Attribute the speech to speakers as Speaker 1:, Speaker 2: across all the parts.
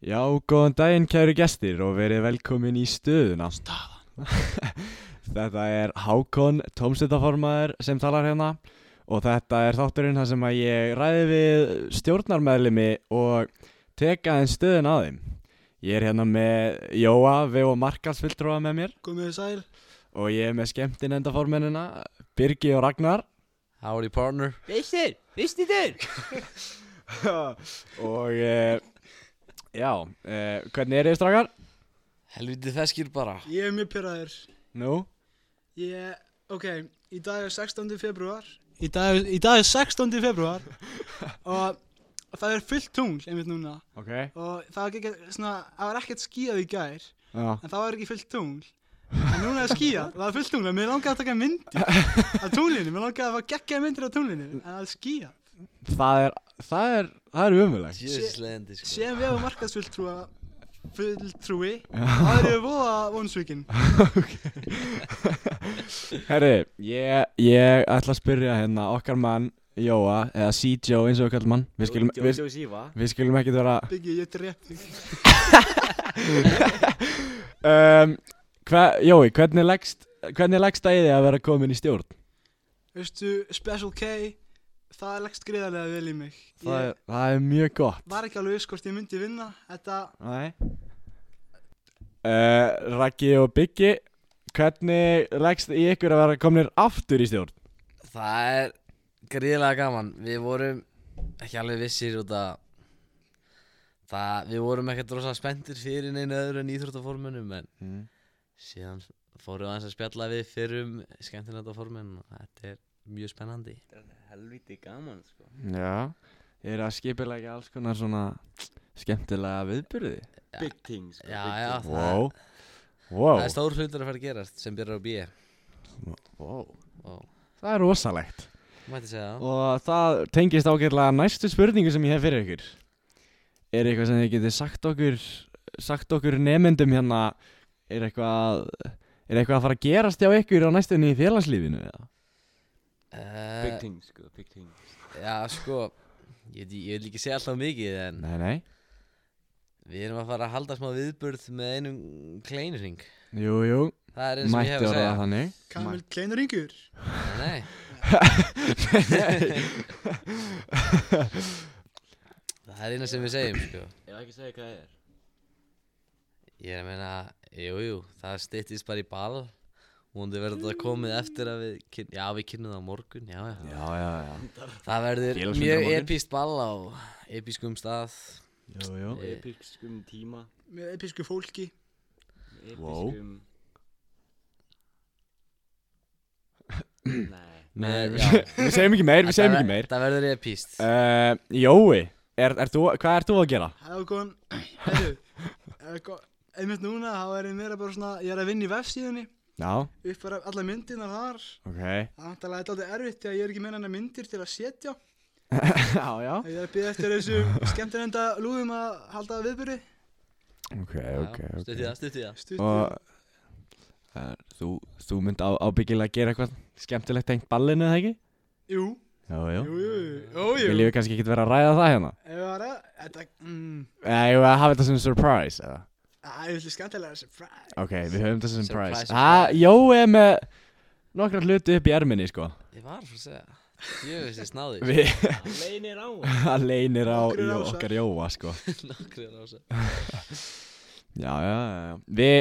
Speaker 1: Já, góðan daginn kæru gestir og verið velkomin í stöðuna Þetta er Hákon, tómstöndaformaður sem talar hérna og þetta er þátturinn þar sem að ég ræði við stjórnarmeðlimi og teka einn stöðun að þeim Ég er hérna með Jóa, Veo og Markalsfylltróa með mér
Speaker 2: Komið sæl
Speaker 1: og ég er með skemmtinendaformennina Birgi og Ragnar
Speaker 3: Howdy partner
Speaker 2: Veistir, veistir þér
Speaker 1: og e, já, e, hvernig er þið strákar?
Speaker 3: Helviti feskir bara
Speaker 2: Ég er mjög pyrraður
Speaker 1: Nú?
Speaker 2: Ég, ok, í dag er 16. februar Í dag, í dag er 16. februar Og það er fullt tungl einmitt núna
Speaker 1: Ok,
Speaker 2: Og það var, ekki, svona, það var ekkert skíðað í gær
Speaker 1: já
Speaker 2: En það var ekki fullt tungl En núna er skíðað, það er fullt tungl En mér langaði að taka myndir af tunglinu Mér langaði að fá geggjaði myndir af tunglinu En það er skíðað
Speaker 1: það er, það er, það er umulegt.
Speaker 3: Jesus leðandi sko
Speaker 2: Sér við hefum markaðsfulltrúa Fulltrúi Það eru voða vonsvíkin
Speaker 1: Herri, ég, ég ætla að spyrja hérna okkar mann, Jóa, eða C-Joe eins og við kallum hann. Við skulum, við, við skulum ekkert vera,
Speaker 2: Biggi, ég drep þig
Speaker 1: um, hva, Jói, hvernig leggst, hvernig leggst það í þig að vera komin í stjórn?
Speaker 2: Veistu, Special K Það leggst greiðarlega vel í mig
Speaker 1: Það,
Speaker 2: Ég
Speaker 1: er, það er mjög gott.
Speaker 2: var ekki alveg viss hvort ég myndi vinna Þetta,
Speaker 1: Nei. Uh, Raggi og Biggi, hvernig leggst í ykkur að vera komin aftur í stjórn?
Speaker 3: Það er gríðlega gaman Við vorum ekki alveg vissir út að það, Við vorum ekkert rosa spenntir fyrir neina öðru en íþróttaformunum En
Speaker 1: Mm.
Speaker 3: síðan fórum við aðeins að spjalla við fyrrum skemmtilegtaformun Og þetta er mjög spennandi
Speaker 4: helviti gaman sko
Speaker 1: Já. Ég er að skipilega alls konar svona skemmtilega viðbyrði.
Speaker 4: Big thing sko
Speaker 3: Já,
Speaker 4: big
Speaker 3: já, það,
Speaker 4: thing.
Speaker 1: Wow. Wow.
Speaker 3: það er stór hlutur að fara að gerast sem byrjar á B
Speaker 1: Wow.
Speaker 3: Og
Speaker 1: Það er rosalegt
Speaker 3: mætti segja það
Speaker 1: Og það tengist ágætlega næstu spurningu sem ég hef fyrir ykkur Er eitthvað sem þið getið sagt okkur Sagt okkur nefndum hérna Er eitthvað Er eitthvað að fara að gerast hjá ykkur á næstunni í félagslífinu eða?
Speaker 3: Eh,
Speaker 4: Big thing sko Big thing
Speaker 3: Já, sko Ég, veit- ég vil ekki segja alltaf mikið en
Speaker 1: Nei, nei
Speaker 3: Við erum að fara að halda smá viðburð með einum kleinring
Speaker 1: Jú, jú
Speaker 3: Það er eins og ég
Speaker 1: Mætti
Speaker 3: hef að
Speaker 1: orða
Speaker 3: segja
Speaker 1: það þannig
Speaker 2: Kamil Kleinur Ingur
Speaker 3: Nei, Nei, það er eina sem við segjum sko.
Speaker 4: Ég var ekki að segja hvað það er
Speaker 3: Ég er að meina, jú, jú, það styttist bara í ball Vondi verður þetta komið eftir að við kyn... Já, við kynnum það á morgun, já, já
Speaker 1: Já, já, já
Speaker 3: Það verður
Speaker 1: Félagsfundur á
Speaker 3: mjög
Speaker 1: morgun.
Speaker 3: epíst ball á episkum stað
Speaker 1: Jú, jú
Speaker 4: Og episkum tíma
Speaker 2: Með episku fólki
Speaker 1: Wow.
Speaker 4: Episkum Nei
Speaker 3: með, já,
Speaker 1: Við segjum ekki meir, við segjum ekki
Speaker 3: það ver-
Speaker 1: meir
Speaker 3: Það verður epíst
Speaker 1: uh, Jói er, er þú, Hvað ert þú að gera?
Speaker 2: Það er góðan, hefðu Einmitt núna, þá er ég meira bara svona Ég er að vinna í vefsíðunni
Speaker 1: Já,
Speaker 2: Upp bara alla myndirnar þar
Speaker 1: ok
Speaker 2: Það er alltaf erfitt þegar ég er ekki meina hana myndir til að setja
Speaker 1: Já, já
Speaker 2: Ég er að byrja eftir þessum skemmtinenda lúðum að halda viðbyrði
Speaker 1: Ok, ok, ok
Speaker 3: Stuttið það, stuttið það
Speaker 2: Stutt
Speaker 1: og það er- þú, þú mynd á, ábyggilega gera eitthvað skemmtilegt tengt ballinu eða ekki?
Speaker 2: Jú,
Speaker 1: Jú, jú.
Speaker 2: jú, jú, jú, jú.
Speaker 1: Viljum við kannski ekki vera að ræða það hérna?
Speaker 2: Ef það var að, þetta, mm,
Speaker 1: Eða eigum við að hafa þetta sem surprise eða?
Speaker 2: Það er eitthvað skemmtilega surprise
Speaker 1: Ok, við höfum þetta sem surprise.
Speaker 3: Surprise,
Speaker 1: Ah, Jó er með nokkra hluti upp í erminni sko.
Speaker 3: Ég var að fara að segja Ég veist, ég snáði
Speaker 1: Við
Speaker 4: Lein er á
Speaker 1: leinir á
Speaker 2: Nokkrir
Speaker 1: jó,
Speaker 2: ásar.
Speaker 1: okkar Jóa sko.
Speaker 3: Nokkriðan á þessu
Speaker 1: Já, já, já, já. Við,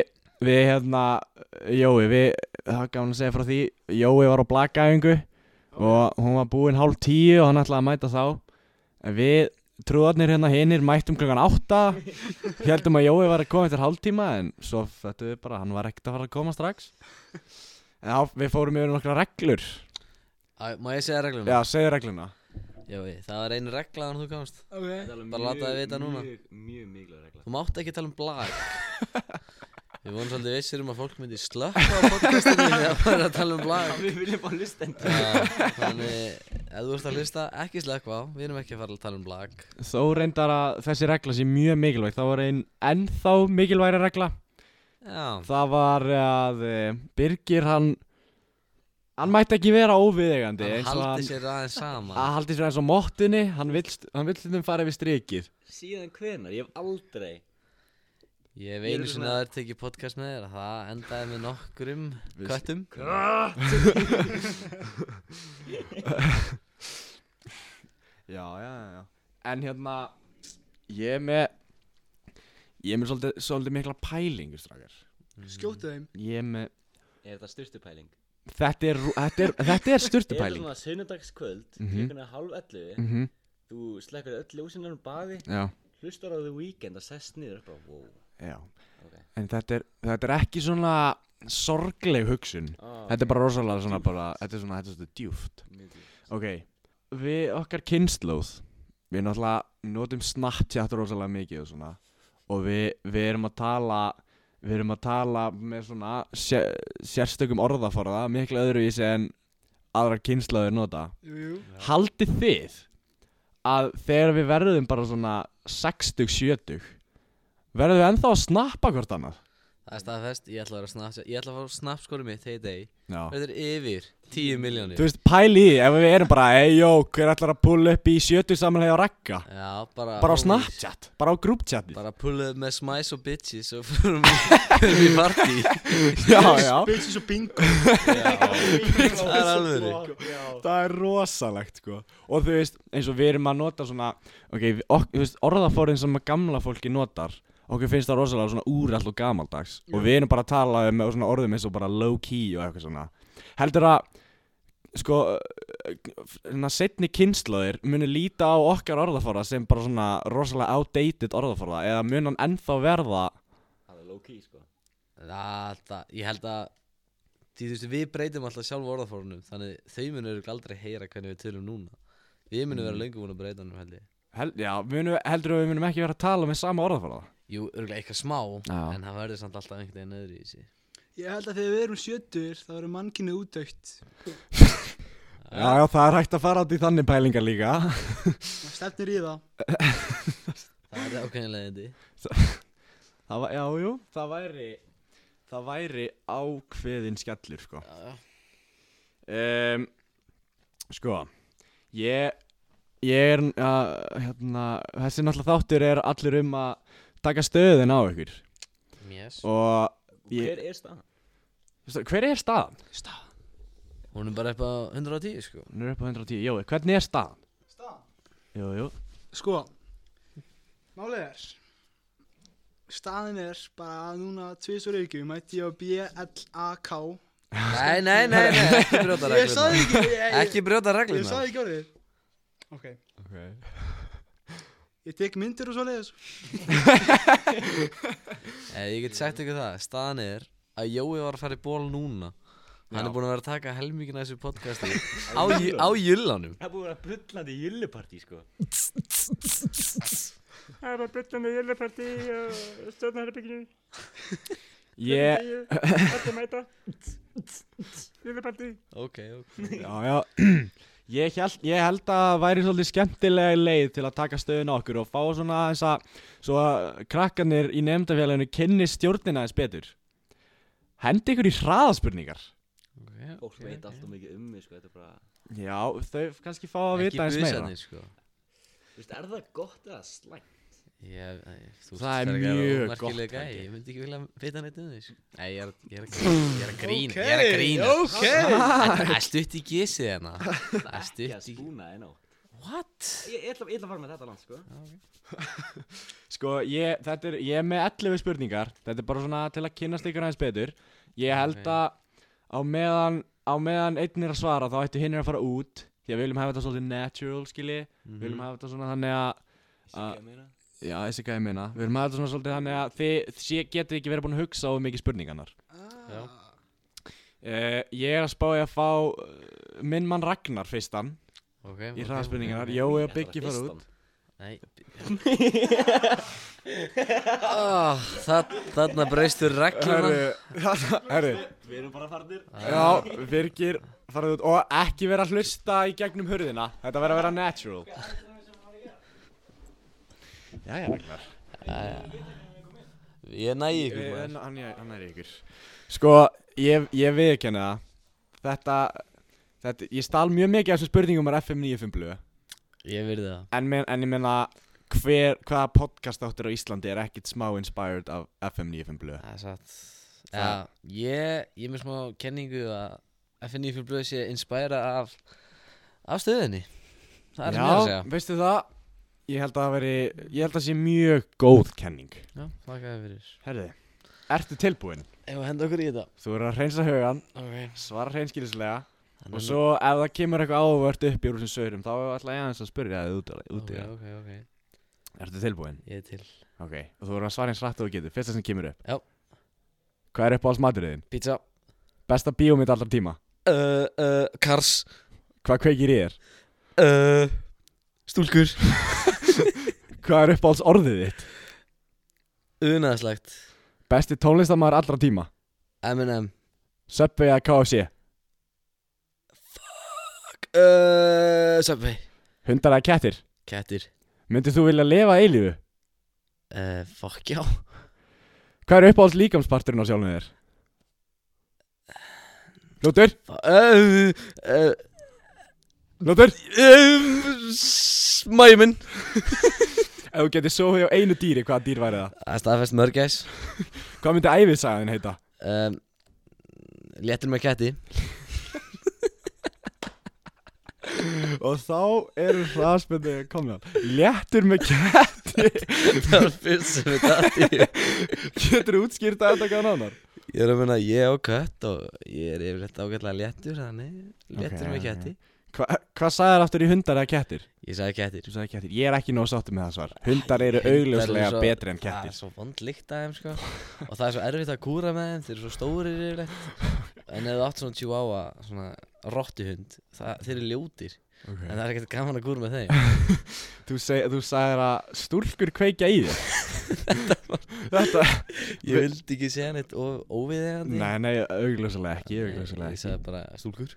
Speaker 1: við hérna, Jói, við, það var gaman að segja frá því, Jói var á blakkaðingu og hún var búin hálf tíu og hann ætlaði að mæta þá. En við trúðarnir hérna hinnir mættum klokkan átta, heldum að Jói var að koma eftir hálftíma en svo þetta við bara, hann var ekkert að fara að koma strax. En þá, við fórum yfir nokkra reglur.
Speaker 3: Æ, Má ég segja reglum?
Speaker 1: Já, segðu regluna.
Speaker 3: Jói, það var einu regla þannig þú komst
Speaker 2: Ok,
Speaker 3: Bara láta það vita núna.
Speaker 4: Mjög, mjög mikla regla
Speaker 3: Þú mátt ekki tala um blag Við vorum svolítið vissir um að fólk myndi slökka á podcastinu þegar maður er að tala um blag
Speaker 4: Við viljum bara listenda
Speaker 3: Já, Þannig, ef þú ert að hlusta, ekki slökka á Við erum ekki að fara að tala um blag
Speaker 1: Þó reyndar að þessi regla sé mjög mikilvæg, þá var einn ennþá mikilvægri regla.
Speaker 3: Já,
Speaker 1: Það var að eh, Birgir hann hann mætti ekki vera óviðegandi
Speaker 3: hann
Speaker 1: eins og Ah.
Speaker 3: haldi sér aðeins saman
Speaker 1: að haldi sér eins og móttunni hann vill st- hann vill stundum fara yfir strikið
Speaker 4: Síðan hvenar Ég hef aldrei
Speaker 2: Ég
Speaker 3: Ég hef
Speaker 2: er
Speaker 3: einu sinni
Speaker 2: svona-
Speaker 3: að það er tekið podcast með þér að það endaði með nokkrum
Speaker 1: Við-
Speaker 3: köttum
Speaker 1: Já, já, já, já En hérna Ég er með Ég er með svolítið, svolítið mikla pælingu strákar
Speaker 2: Skjóttu Mm. þeim
Speaker 1: Ég er með
Speaker 4: Er þetta styrtupæling?
Speaker 1: Þetta er, rú- þetta er, þetta er
Speaker 4: Er þetta
Speaker 1: styrtupæling
Speaker 4: svona sunnudagskvöld,
Speaker 1: Mhm.
Speaker 4: klukkan er hálf ellu,
Speaker 1: Mhm,
Speaker 4: þú slekkur öll ljósinar um baði,
Speaker 1: Já,
Speaker 4: hlustar á The Weeknd og sest niður og bara, wow,
Speaker 1: já
Speaker 4: ok.
Speaker 1: En þetta er, þetta er ekki svona sorgleg hugsun
Speaker 4: Ah,
Speaker 1: Þetta er bara rosalega svona bara Þetta er svona, þetta er svona djúft
Speaker 4: mjög djúpt.
Speaker 1: Ok, við okkar kynnslóð Við náttúrulega notum Snapchat rosalega mikið og svona Og við, við erum að tala Við erum að tala með svona sér, Sérstökum orðaforða Miklu öðruvísi en aðrar kynnslóður nota
Speaker 2: Jú, jú
Speaker 1: Haldið þið Að þegar við verðum bara svona 60-70 Verðum við ennþá að snappa hvort annað
Speaker 3: Það er staðfest, ég ætla að vera snaps Ég ætla að fara snapskóri mitt, hey day
Speaker 1: Já
Speaker 3: Þetta er yfir 10 miljónir
Speaker 1: Þú veist, pæli í, því, ef við erum bara Ey, jó, hver ætlar að pulla upp í 70 samlega á ragga?
Speaker 3: Já, bara
Speaker 1: Bara á Snapchat, bara á grúpchati
Speaker 3: Bara pulluð með smice og bitches og fyrir mig í partí
Speaker 1: Já, já
Speaker 2: Bitches og bingo
Speaker 3: Það er alveg
Speaker 1: Það er rosalegt, sko Og þú veist, eins og við erum að nota svona Ok, við- ok- þú veist, orðaforðin sem að gamla fólki notar Okkur finnst það rosalega svona úræll og gamaldags Og við erum bara að tala um með svona orðum eins og bara low key og eitthvað svona Heldur að, sko Svona setni kynnslóðir muni líta á okkar orðaforða sem bara svona rosalega outdated orðaforða Eða mun hann ennþá verða
Speaker 4: Það er low key, sko.
Speaker 3: Það, það, ég held að Því þú veist, við breytum alltaf sjálf orðaforunum Þannig þau munur örugglega aldrei heyra hvernig við tölum núna Við munum
Speaker 2: Mm.
Speaker 3: vera löngu búin að breyta hann held ég
Speaker 1: Hel, já, munu, heldur að við munum ekki vera að tala um með sama orðaforða
Speaker 3: Jú, örgulega eitthvað smá
Speaker 1: Já.
Speaker 3: En það verður samt alltaf einhvern veginn öðru í þessi
Speaker 2: Ég held að þegar við erum sjötur þá erum mannkynni útökt
Speaker 1: Já, já, það er hægt að fara átt í þannig pælingar líka
Speaker 2: Það stefnir í það
Speaker 3: Það er ákveðinlega þetta
Speaker 1: það var, Já, jú, það væri Það væri ákveðin skellur, sko um, Sko Ég Ég er, uh, hérna Þessi náttúrulega þáttur er allir um að taka stöðin á ykkur
Speaker 3: Yes
Speaker 1: Og
Speaker 4: Ég...
Speaker 1: ég,
Speaker 4: Hver er staðan?
Speaker 1: Hver er staðan?
Speaker 2: Stað
Speaker 3: Hún er bara upp á 110 sko
Speaker 1: Hún er upp á 110, jói, hvernig er staðan?
Speaker 2: Stað
Speaker 1: Jú, jú
Speaker 2: Sko Málið er Staðin er bara að núna tvisur ykkur mætti ég á B-L-A-K
Speaker 3: Nei, nei, nei, nei, ekki brjóta
Speaker 2: Ég sagði
Speaker 3: regluna
Speaker 2: ekki ég- ég-
Speaker 3: Ekki brjóta
Speaker 2: Ég
Speaker 3: regluna
Speaker 2: sagði ekki orðið Ok
Speaker 1: okay.
Speaker 2: Ég tek myndir og svo leiðis
Speaker 3: Eh, Ég, ég get sagt ykkur það, staðan er að Jói var að fara í ból núna Hann er búin að vera að taka helmingina af þessu podcasti á, ju- á júllanum
Speaker 4: Það er búið að vera brullandi júllupartí, sko.
Speaker 5: Það var byllandi jölluparti og stjórnarherbygginu.
Speaker 1: Ég,
Speaker 5: Allir mæta. Jölluparti.
Speaker 3: Ok, ok
Speaker 1: Já, já Ég held, ég held að það væri svolítið skemmtilega leið til að taka stöðun okkur og fá svona þess að svo að krakkanir í nefndafélaginu kynni stjórnina þess betur Hendi ykkur í hraðaspurningar
Speaker 4: Fólk veit allt og mikið um mig, sko. Þetta er bara...
Speaker 1: Já, þau kannski fá að vita eins meira
Speaker 3: busarnir sko
Speaker 4: Þú veist, er það gott eða slæmt?
Speaker 3: Ég, ég, þú veist,
Speaker 1: Það er
Speaker 3: ekki að vera
Speaker 1: mjög
Speaker 3: ómerkilegur
Speaker 1: gott,
Speaker 3: gæi,
Speaker 1: held ég.
Speaker 3: Ég myndi ekki vilja vita neitt um því sko. Nei, ég er, ég er að grína Ég er að grína Ég er að grína
Speaker 2: Ok
Speaker 3: En Það er stutt í gisið hérna Það er
Speaker 4: Ekki að
Speaker 3: stutt í
Speaker 4: spúna en á.
Speaker 3: What?
Speaker 4: Ég ég ætla ég ætla að fara með þetta land, sko.
Speaker 1: Sko, ég, þetta er, ég er með 11 spurningar Þetta er bara svona til að kynnast ykkur aðeins betur Ég held
Speaker 3: Ok.
Speaker 1: að á meðan, á meðan einn er að svara þá ættu hinn er að fara út Því að við viljum hafa þetta svolítið natural, skilji Við viljum hafa þetta svona þannig að Ah.
Speaker 4: Ég meina.
Speaker 1: Já, þessi hvað ég meina. Við erum aðeins svona svolítið þannig að þið sé, getið ekki verið búin að hugsa á mikið spurningarnar.
Speaker 3: Já.
Speaker 1: Uh, ég er að spá ég að fá uh, minn mann Ragnar fyrstan
Speaker 3: Ok
Speaker 1: í
Speaker 3: ok,
Speaker 1: hraðspurningarnar.
Speaker 3: ok, ok.
Speaker 1: Jói
Speaker 4: Ég
Speaker 1: og
Speaker 4: ætla
Speaker 1: Byggi
Speaker 4: að
Speaker 1: fara
Speaker 4: fyrsta
Speaker 1: út.
Speaker 4: hann.
Speaker 3: Nei oh, það, Þarna breystur regluna
Speaker 1: herru,
Speaker 4: Við erum bara farnir.
Speaker 1: já, virkir farað út og ekki vera að hlusta í gegnum hurðina. Þetta verður að vera natural. Jæja, Ragnar.
Speaker 3: Ég næði ykkur
Speaker 1: Eh,
Speaker 3: maður
Speaker 1: en Hann er- hann er í ykkur. Sko, ég, ég viðkenni það. Þetta, þetta, ég stal mjög mikið af þessum spurningum á FM95 blöðu.
Speaker 3: Ég virði það
Speaker 1: En, men, en ég meina hver, hvaða podcast áttur á Íslandi er ekkit smá inspired af FM 95 blöð
Speaker 3: Það er satt Já,
Speaker 1: Það-
Speaker 3: ég, ég er með smá kenningu að FNI fyrir blöðu sé inspæra af af stöðinni Það er sem ég er að
Speaker 1: Já,
Speaker 3: segja
Speaker 1: veistu það Ég held að það veri, ég held að það sé mjög góð kenning
Speaker 3: Já, þakka þér fyrir
Speaker 1: Herði, ertu tilbúin?
Speaker 3: Ef að henda okkur í þetta
Speaker 1: Þú eru að hreinsa hugan,
Speaker 3: Ok
Speaker 1: svara hreinskilislega
Speaker 3: Þannig
Speaker 1: Og svo ef það kemur eitthvað áhugavert upp í úr þessum saurum Þá ætla ég aðeins að spyrja þið út,
Speaker 3: að-
Speaker 1: út í
Speaker 3: Ok, ok, ok
Speaker 1: það Ertu tilbúin?
Speaker 3: Ég er til
Speaker 1: Ok, og þú eru að svara eins rætt og þú getur Fyrsta sem kemur upp
Speaker 3: Já.
Speaker 1: Hvað er upp á alls maturiðin?
Speaker 3: Pizza
Speaker 1: Besta bíómynd allra tíma?
Speaker 3: Uh, uh, Kars
Speaker 1: Hvað kveikir í þér?
Speaker 3: uh, Stúlkur
Speaker 1: Hvað er upp á alls orðið þitt?
Speaker 3: Unaðslegt
Speaker 1: Besti tónlistamæður allra tíma?
Speaker 3: M&M
Speaker 1: Subway eða KFC?
Speaker 3: uh, Subway
Speaker 1: Hundar eða kettir?
Speaker 3: Kettir
Speaker 1: Myndið þú vilja lifa eilífu?
Speaker 3: uh, Fuck já
Speaker 1: Hvað er uppáhalds líkamsparturinn á sjálfum þér? Lútur,
Speaker 3: uh, uh,
Speaker 1: Lútur
Speaker 3: um, Mæmin
Speaker 1: Ef þú getur sofið á einu dýri, hvaða dýr væri það?
Speaker 3: Það er staðfest mörgæs
Speaker 1: Hvað myndi æfiðsæðin heita?
Speaker 3: um, Léttur með ketti
Speaker 1: Og þá eru hraðspöndu komna Léttur með ketti
Speaker 3: Það var fyrst sem við dætti
Speaker 1: Getur útskýrta þetta hvað nánar?
Speaker 3: Ég er að minna ég á kött og ég er yfirleitt ágætlega léttur Þannig léttur
Speaker 1: Ok,
Speaker 3: með
Speaker 1: ok.
Speaker 3: ketti
Speaker 1: Hva, hvað sagðir aftur í hundar eða kettir?
Speaker 3: Ég sagði kettir
Speaker 1: Þú sagði kettir, ég er ekki nóg sáttur með það svar Hundar eru augljóslega
Speaker 3: svo-
Speaker 1: betri en
Speaker 3: Það er
Speaker 1: kettir
Speaker 3: svo vond lykt af þeim sko Og það er svo erfitt að kúra með þeim Þeir eru svo stórir yfirleitt En ef þú átt svona chihuahua Svona rottuhund það, Þeir eru ljótir En það er ekkert gaman að kúra með þeim
Speaker 1: Þú, seg, þú sagðir að stúlkur kveikja í þér Þetta
Speaker 3: Ég vildi ekki segja neitt óviðegandi
Speaker 1: Nei, nei, augljóslega ekki, augljóslega
Speaker 3: Ég
Speaker 1: ekki
Speaker 3: sagði bara stúlkur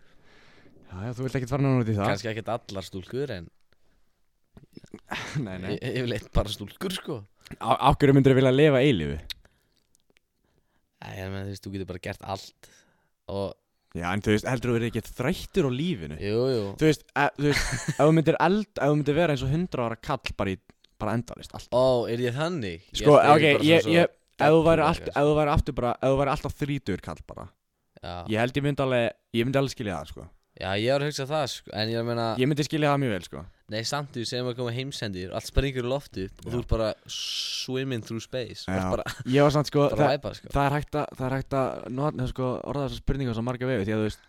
Speaker 1: Já, já, þú vilt ekkert fara náttúrulega út í það
Speaker 3: Kannski ekkert allar stúlkur En
Speaker 1: Nei, nei
Speaker 3: y- yfirleitt bara stúlkur sko
Speaker 1: Ákveður myndur þú vilja lifa eilífi?
Speaker 3: Nei, ég meina þú veist, þú getur bara gert allt Og,
Speaker 1: Já, en þú veist, heldur þú eru ekki þreyttur á lífinu?
Speaker 3: jú, jú
Speaker 1: Þú veist, e, þú veist ef þú myndir eld, ef þú myndir vera eins og 100 ára kall bara í, bara endalist allt
Speaker 3: Ó, er ég þannig? Ég
Speaker 1: Sko,
Speaker 3: held að
Speaker 1: ok,
Speaker 3: er bara
Speaker 1: ég,
Speaker 3: svona
Speaker 1: ég, ef þú
Speaker 3: deadpool
Speaker 1: væri
Speaker 3: eða
Speaker 1: allt,
Speaker 3: eitthvað.
Speaker 1: ef þú væri aftur bara, ef þú væri alltaf þrítur kall bara
Speaker 3: Já,
Speaker 1: Ég held ég myndi alveg, ég myndi alveg skilja það, sko
Speaker 3: já, ég var að hugsa það, sko En ég er að meina,
Speaker 1: Ég myndi skilja það mjög vel, sko
Speaker 3: nei, samt þú segjum að koma heimsendir Allt springur í loftu upp Og
Speaker 1: Já.
Speaker 3: þú ert bara swimming through space Þú
Speaker 1: Já.
Speaker 3: ert bara,
Speaker 1: Ég var samt, sko,
Speaker 3: bara
Speaker 1: það,
Speaker 3: væpa, sko
Speaker 1: það er hægt að, það er hægt að, not, sko, orða þessar spurningar svo marga vegu Því að, þú veist,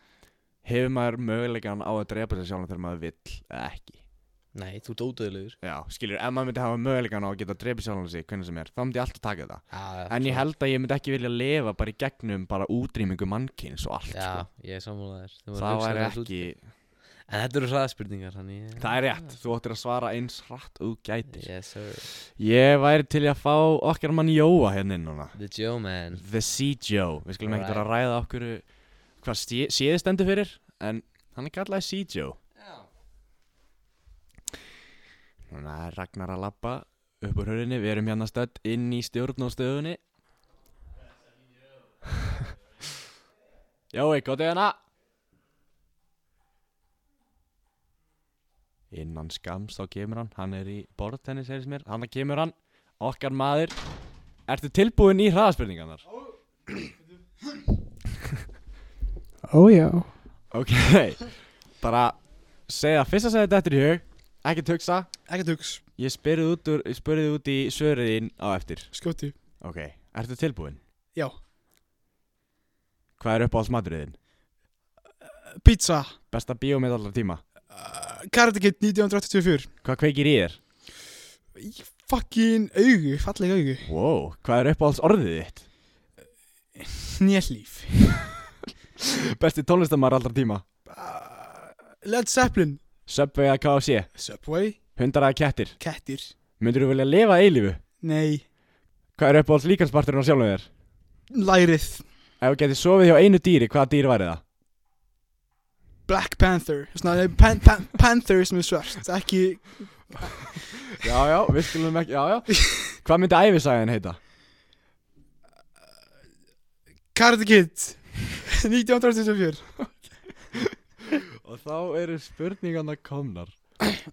Speaker 1: hefur maður möguleikann á að drepa sér sjálfan þegar maður vill eða ekki
Speaker 3: Nei, þú ert ódöðlegur
Speaker 1: Já, skilur, ef maður myndi hafa möguleikann á að geta drepið sjálfan sig hvernig sem er, þá myndi ég alltaf taka þetta En ég held að ég myndi ekki vilja lifa bara í gegnum bara útrýmingu mannkyns og allt
Speaker 3: Já, ég er sammála þér Þú
Speaker 1: sko.
Speaker 3: voru
Speaker 1: Það
Speaker 3: að hugsa
Speaker 1: væri
Speaker 3: þetta út.
Speaker 1: ekki,
Speaker 3: En þetta eru hraðspurningar, þannig ég-
Speaker 1: það er rétt, þú óttir að svara eins hratt og þú gætir
Speaker 3: Yes, sir
Speaker 1: Ég væri til í að fá okkar mann Jóa hérna inn núna
Speaker 3: The Joe man
Speaker 1: The Sea Joe, við skulum ekkert vera að ræða okkur eh, hvað sé- séð stendur fyrir En hann er kallaði Sea Joe Núna er Ragnar að labba upp úr hörðinni, við erum hérna stödd inn í stjórn og stöðunni Jói, gott hérna Innan skams þá kemur hann, hann er í borðtennis heyrðis mér, hann kemur hann, okkar maður Ertu tilbúin í hraðaspurningarnar?
Speaker 2: Ó já
Speaker 1: Ok, bara segja fyrst að segja þetta eftir í hug Ekki hugsa
Speaker 2: Ekkert hugs,
Speaker 1: Ég spurði út, úr, ég spurði út í svöriðin á eftir
Speaker 2: skjóti
Speaker 1: Ok, ertu tilbúin?
Speaker 2: Já
Speaker 1: Hvað er upp á alls maturiðin?
Speaker 2: Pizza
Speaker 1: Besta bíómið allra tíma
Speaker 2: uh, Karate Kid 1984
Speaker 1: Hvað kveikir í þér?
Speaker 2: Í Fucking augu, falleg augu
Speaker 1: Wow, hvað er upp á alls orðið þitt?
Speaker 2: Nélíf
Speaker 1: Besti tónlistamar allra tíma
Speaker 2: uh, Led Zeppelin
Speaker 1: Subway að KFC
Speaker 2: Subway
Speaker 1: Hundar að kettir
Speaker 2: Kettir
Speaker 1: Myndur þú vilja lifa eilífu?
Speaker 2: Nei
Speaker 1: Hvað er upp á alls líkansparturinn á sjálfum þér?
Speaker 2: Lærið
Speaker 1: Ef þú getið sofið hjá einu dýri, hvaða dýr væri það?
Speaker 2: Black Panther Svona, nei, pan, pan, Panther sem er svart Ekki
Speaker 1: Já, já, við skulum ekki, já, já Hvað myndi æfisagan heita?
Speaker 2: Karate Kid 1984
Speaker 1: Og þá eru spurningarna komnar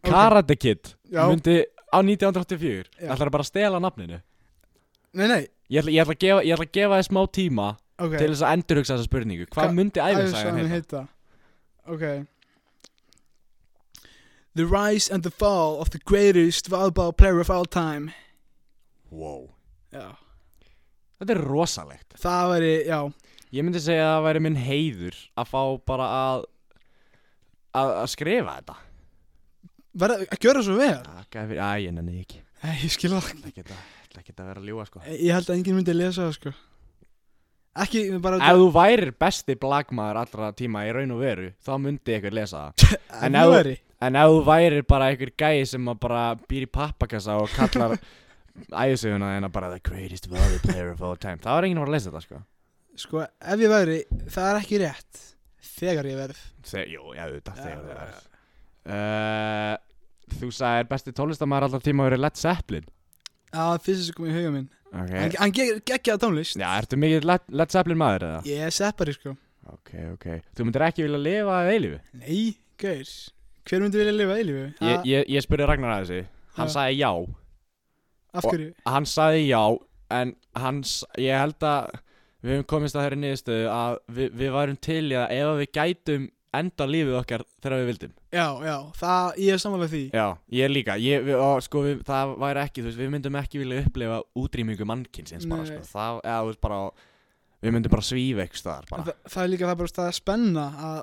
Speaker 1: Karate Kid
Speaker 2: Já.
Speaker 1: myndi á 1984
Speaker 2: Já.
Speaker 1: ætlar bara að stela nafninu
Speaker 2: Nei, nei,
Speaker 1: Ég ætla, ég ætla, að, gefa, ég ætla að gefa þið smá tíma
Speaker 2: ok
Speaker 1: til þess að endurhugsa þessa spurningu Hvað
Speaker 2: Hva-
Speaker 1: myndi æfisagan
Speaker 2: Ævisagan
Speaker 1: heita?
Speaker 2: heita Ok The rise and the fall of the greatest volleyball player of all time
Speaker 1: Wow
Speaker 2: Já
Speaker 1: Þetta er rosalegt
Speaker 2: Það væri, já
Speaker 1: Ég myndi segja að það væri minn heiður að fá bara að að, að skrifa þetta
Speaker 2: Verða að gjöra svo vel
Speaker 1: Takk að fyrir, æ, ég nenni því ekki
Speaker 2: Nei, ég skil það
Speaker 1: Ætla ekki að- ætla ekki að vera að ljúa sko
Speaker 2: Ég held að enginn myndi að lesa það sko Ekki, bara
Speaker 1: Ef þú værir besti blagmaður allra tíma í raun og veru þá myndi einhver lesa það en
Speaker 2: nú
Speaker 1: ef-
Speaker 2: er ég
Speaker 1: En ef þú værir bara einhver gæi sem að bara býr í pappakassa og kallar ægisöguna þeirna bara The greatest volley player of all time Það var enginn að fara að lesa þetta sko
Speaker 2: Sko, ef ég væri, það er ekki rétt Þegar ég verð
Speaker 1: Þe, Jú, já, þetta
Speaker 2: Já,
Speaker 1: þegar það
Speaker 2: já,
Speaker 1: er uh, Þú sagðir besti tónlistamæður alltaf tíma að vera Led Zeppelin
Speaker 2: Það var fyrst sem kom í huga minn Hann,
Speaker 1: okay.
Speaker 2: hann geggja það tónlist
Speaker 1: Já, ertu mikið Led, Led Zeppelin maður eða?
Speaker 2: Ég er seppari sko
Speaker 1: Ok, ok Þú myndir ekki vilja lifa að eilífi
Speaker 2: Nei, gaur Hver myndi vilja lifa eilífu?
Speaker 1: ég, ég, ég spurði Ragnar að þessi Hann
Speaker 2: Já.
Speaker 1: sagði já
Speaker 2: Af hverju?
Speaker 1: Hann sagði já En hans, ég held að Við höfum komist að þeirri niðurstöðu að við, við værum til í að ef að við gætum enda lífið okkar þegar við vildum
Speaker 2: Já, já, það, ég er samanlega því
Speaker 1: Já, ég líka, ég, við, og, sko, við, það væri ekki, þú veist, við myndum ekki vilja upplefa útrýmingu mannkynsins bara,
Speaker 2: Nei.
Speaker 1: sko, það, eða, þú veist, bara, við myndum bara svífa ykkur staðar,
Speaker 2: En
Speaker 1: bara,
Speaker 2: það, það er líka það er bara stað að spenna að,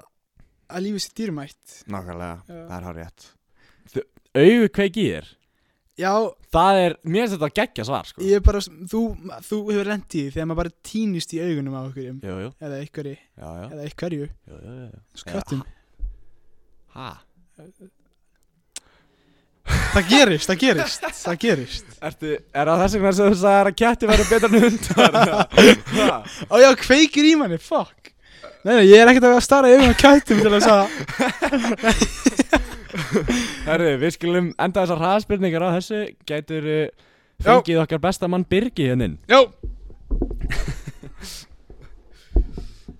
Speaker 2: að lífið sér dýrmætt
Speaker 1: nákvæmlega,
Speaker 2: Já.
Speaker 1: það er hár rétt. Auðu kveik í þér,
Speaker 2: Já,
Speaker 1: það er, mér finnst þetta geggja svar, sko.
Speaker 2: ég er bara, þú, þú hefur lent í því þegar maður bara týnist í augunum á okkurjum
Speaker 1: Jú, jú,
Speaker 2: eða ykkurri,
Speaker 1: já, já,
Speaker 2: eða ykkurju
Speaker 1: jú, jú, jú, jú.
Speaker 2: skattum,
Speaker 1: Ha?
Speaker 2: það gerist, það gerist það gerist,
Speaker 1: Ertu, er það þess vegna sem þú sagðir að ketti væri betra en hundar? Ha?
Speaker 2: og já, kveikir í manni, fuck Nei, nei, ég er ekkert að vera að stara yfir á kættum til þess að
Speaker 1: Herðu, við skulum enda þessar hraðspurningar á þessu Gætur uh, fengið okkar besta mann Birgi hérna hennin
Speaker 2: Já.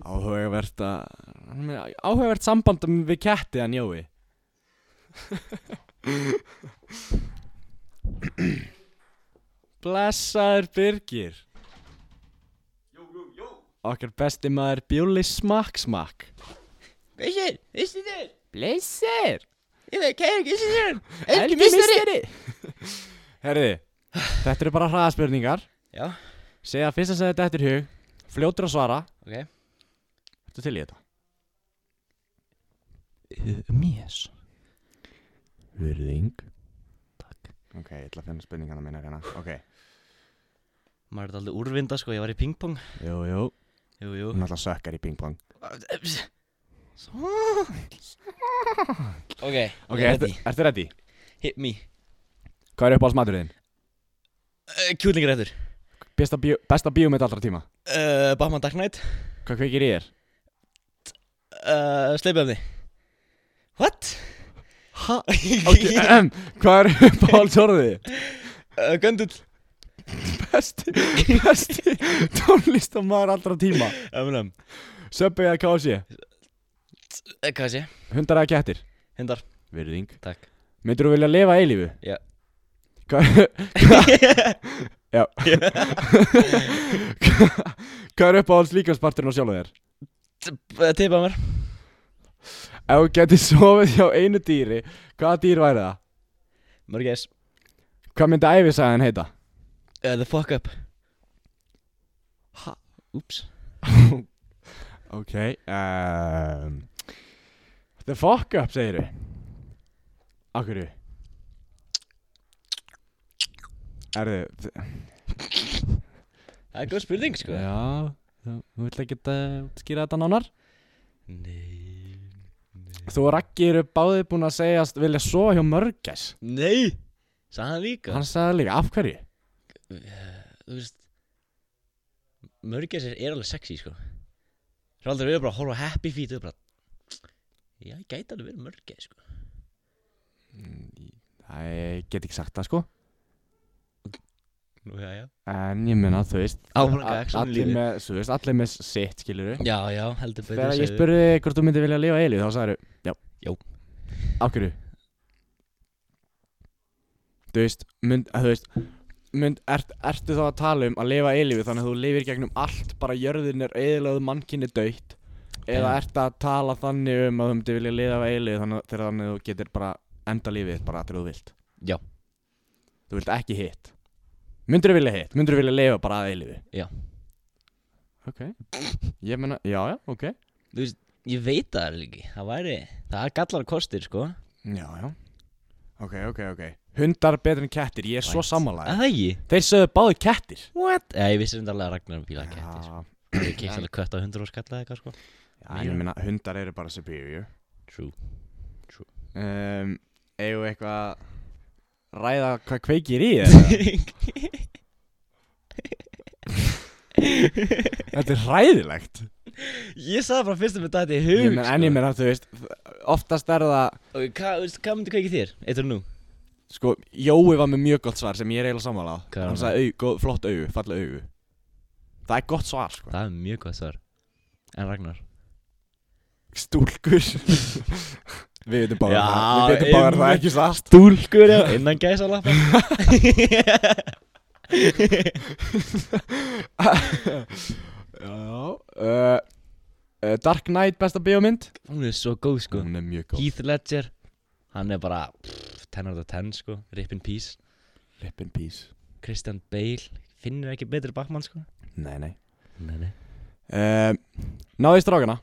Speaker 1: Áhugavert að hann er með Áhugavert samband við ketti hann Jói Blessaður Birgir Jó, jó, jó Okkar besti maður Bjóli Smakk Smakk
Speaker 6: Vissir, vissir þér?
Speaker 1: Blessaður
Speaker 6: Ég veit, kæra gísir þér
Speaker 1: Helgi misteri Herði, þetta eru bara hraðaspurningar
Speaker 3: Já.
Speaker 1: Segja fyrst að segja þetta eftir hug Fljótur að svara
Speaker 3: Ok.
Speaker 1: Þetta til í þetta
Speaker 6: Mér
Speaker 1: Eh, Virðing Takk Ok, ég ætla að finna spurningana minna hérna Ok,
Speaker 4: Maður er alltaf úrvinda sko, ég var í pingpong
Speaker 1: jú, jú
Speaker 4: Jú, jú
Speaker 3: Mm.
Speaker 1: Hún alltaf sökkar í pingpong Ok,
Speaker 3: Ok, ég er
Speaker 1: ertu
Speaker 3: ready.
Speaker 1: ertu ready?
Speaker 3: Hit me
Speaker 1: Hvað er upp á smaturinn?
Speaker 3: uh, Kjúlingarættur
Speaker 1: Besta, bíó, besta bíómynd allra tíma
Speaker 3: uh, Batman Dark Knight
Speaker 1: Hvað kveikir í þér?
Speaker 3: uh, Sleipöfni What?
Speaker 1: Ha? Ok, em, hvað er upp á alsorðið?
Speaker 3: uh, Göndull
Speaker 1: Besti, besti tónlistamæður allra tíma
Speaker 3: Eminem
Speaker 1: Söpbi eða kási?
Speaker 3: uh, Hvað sé?
Speaker 1: Hundar eða kettir?
Speaker 3: Hindar
Speaker 1: Virðing
Speaker 3: Takk.
Speaker 1: Myndur þú vilja lifa eilífu?
Speaker 3: Já.
Speaker 1: Hvað Já Hvað er upp á alls líkansparturinn á sjálfu þér?
Speaker 3: uh, Tippa mér
Speaker 1: Ef þú getur sofið hjá einu dýri Hvaða dýr væri það?
Speaker 3: Mörgæs
Speaker 1: Hvað myndi æfisagan heita?
Speaker 3: uh, The fuck up Ha? Úps
Speaker 1: Ok um, The fuck up segir þú Akkur Erðu
Speaker 3: Það er góð spurning sko
Speaker 1: Já Þú þú vill ekki uh, skýra þetta nánar?
Speaker 3: Nei
Speaker 1: Þú og Raggi eru báðið búin að segjast vilja sofa hjá mörgæs
Speaker 3: Nei Sæði hann líka
Speaker 1: Hann sagði líka, af hverju?
Speaker 3: Þú veist Mörgæs er, er alveg sexy sko Raldur við erum bara að horfa á happy feet og bara Já, ég gæti alveg verið mörgæs sko
Speaker 1: Það ég get ekki sagt það sko
Speaker 3: Nú, já, já
Speaker 1: En ég meina, þú veist
Speaker 3: Áfram
Speaker 1: a-
Speaker 3: gegn svona
Speaker 1: allir
Speaker 3: lífi.
Speaker 1: með, þú veist, allir með sitt, skilur við
Speaker 3: Já, já, heldur betur
Speaker 1: Þegar ég
Speaker 3: sagði-
Speaker 1: spurði þig hvort þú myndir vilja lifa eilu, þá sagði þú Já
Speaker 3: Jó.
Speaker 1: Af hverju? þú veist, mynd, eh, þú veist mynd, ert, ertu þá að tala um að lifa eilífið þannig að þú lifir gegnum allt bara jörðin er eðilögð mannkinni döitt eða ertu að tala þannig um að þú myndi vilja lifa eilífið þannig að- þegar þannig að þú getur bara enda lífið þitt bara þegar þú vilt
Speaker 4: Já.
Speaker 1: þú vilt ekki hitt myndur þú vilja hitt, myndur þú vilja lifa bara að eilífið
Speaker 4: Já.
Speaker 1: ok, ég meina, já, já, ok
Speaker 4: Ég veit það alveg ekki, það væri, það er gallar kostir sko
Speaker 1: já, já ok, ok, ok hundar betur en kettir, ég er svo
Speaker 4: Right.
Speaker 1: sammálaði
Speaker 4: Það er ekki
Speaker 1: Þeir sögðu báðu kettir
Speaker 4: What? Já, ég vissi reyndarlega að Ragnar bílaði kettir
Speaker 1: Já,
Speaker 4: Ég kemst alveg kött á 100 og skallaði eitthvað sko
Speaker 1: já, en ég meina hundar eru bara superior
Speaker 4: True
Speaker 1: um, Eigum við eitthvað að ræða hvað kveikir í eða? Þetta er hræðilegt
Speaker 4: Ég sagði bara fyrst um þetta þetta í
Speaker 1: ég
Speaker 4: hug
Speaker 1: meina, En ég
Speaker 4: sko.
Speaker 1: meina, þú veist, oftast er það
Speaker 4: Og hvað, veistu, hvað myndi kveikið þér? Eitt og nú
Speaker 1: Sko, Jói var með mjög gott svar sem ég er eiginlega sammála á.
Speaker 4: Hvað er
Speaker 1: Hann
Speaker 4: það?
Speaker 1: sagði, au, góð, flott augu, falla augu Það er gott svar, sko
Speaker 4: Það er mjög gott svar En Ragnar
Speaker 1: Stúlkur Við veitum bara
Speaker 4: Já,
Speaker 1: það Við veitum bara það
Speaker 4: einmitt.
Speaker 1: ekki satt
Speaker 4: Dúlkur já Innan gæsa lappa
Speaker 1: Já uh, uh, Dark Knight, besta bíómynd
Speaker 4: Hún er svo góð sko
Speaker 1: Hún er mjög góð
Speaker 4: Heath Ledger Hann er bara pff, 10 out of 10 sko Rip in peace
Speaker 1: Rip in peace
Speaker 4: Christian Bale Finnir ekki betri bakmann sko
Speaker 1: Nei, nei
Speaker 4: Nei, nei
Speaker 1: uh, Náðu í strákana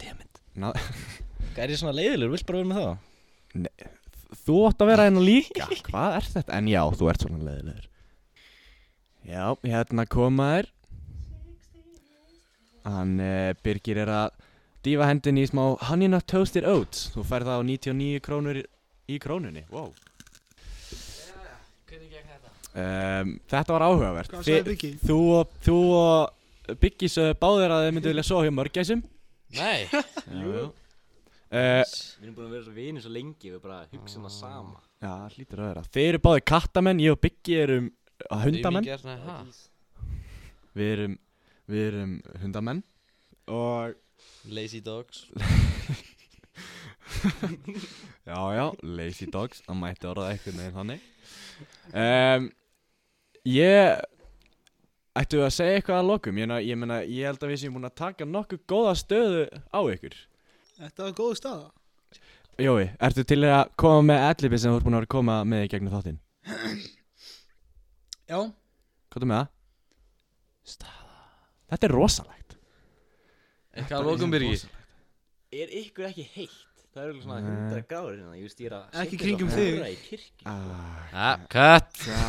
Speaker 4: Damn it
Speaker 1: Ná-
Speaker 4: Hvað er ég svona leiðilegur? Vilt bara vera með það?
Speaker 1: Þú ótt að vera hérna líka Hvað er þetta? En já, þú ert svona leiðilegur Já, hérna koma þér Hann uh, Birgir er að dýfa hendin í smá Honey Nut Toasted Oats Þú færð það á 99 krónur í, í krónunni Wow Um, þetta var áhugavert
Speaker 2: Hvað
Speaker 1: Þi-
Speaker 2: sagði Biggi?
Speaker 1: Þú og, þú og Biggi sögðu báðir að þið myndu vilja sofa hjá mörgæsum
Speaker 3: Nei
Speaker 1: Jú uh,
Speaker 4: Við erum búin að vera svo vinið svo lengi Við bara hugsa um það sama
Speaker 1: Já, það hlýtur að vera Þið eru báðir kattamenn, ég og Biggi erum uh, hundamenn
Speaker 3: Aumingi er svona, ha?
Speaker 1: Við erum, við erum hundamenn Og
Speaker 3: Lazy dogs
Speaker 1: Já, já, lazy dogs Það mætti orða eitthvað neginn þannig um, Ég Ættu að segja eitthvað að lokum Ég, meina- ég, meina, ég held að við séum búin að taka nokkuð góða stöðu á ykkur
Speaker 2: Þetta var góð staða.
Speaker 1: Jói, ertu til í að koma með allipi sem þú ert búin að vera að koma með í gegnum þáttinn?
Speaker 2: Já,
Speaker 1: Hvað er með það? Staða Þetta er rosalegt
Speaker 3: Eitthvað að
Speaker 1: um
Speaker 3: lokum byrgi
Speaker 4: Er ykkur ekki heitt? Það eru svona
Speaker 1: Nei.
Speaker 4: 100 gráður hérna Ég veist ég er að
Speaker 2: Ekki kringum þig.
Speaker 3: Ah,
Speaker 4: Það er í kirkju
Speaker 1: ah,
Speaker 3: Ha, cut
Speaker 1: Já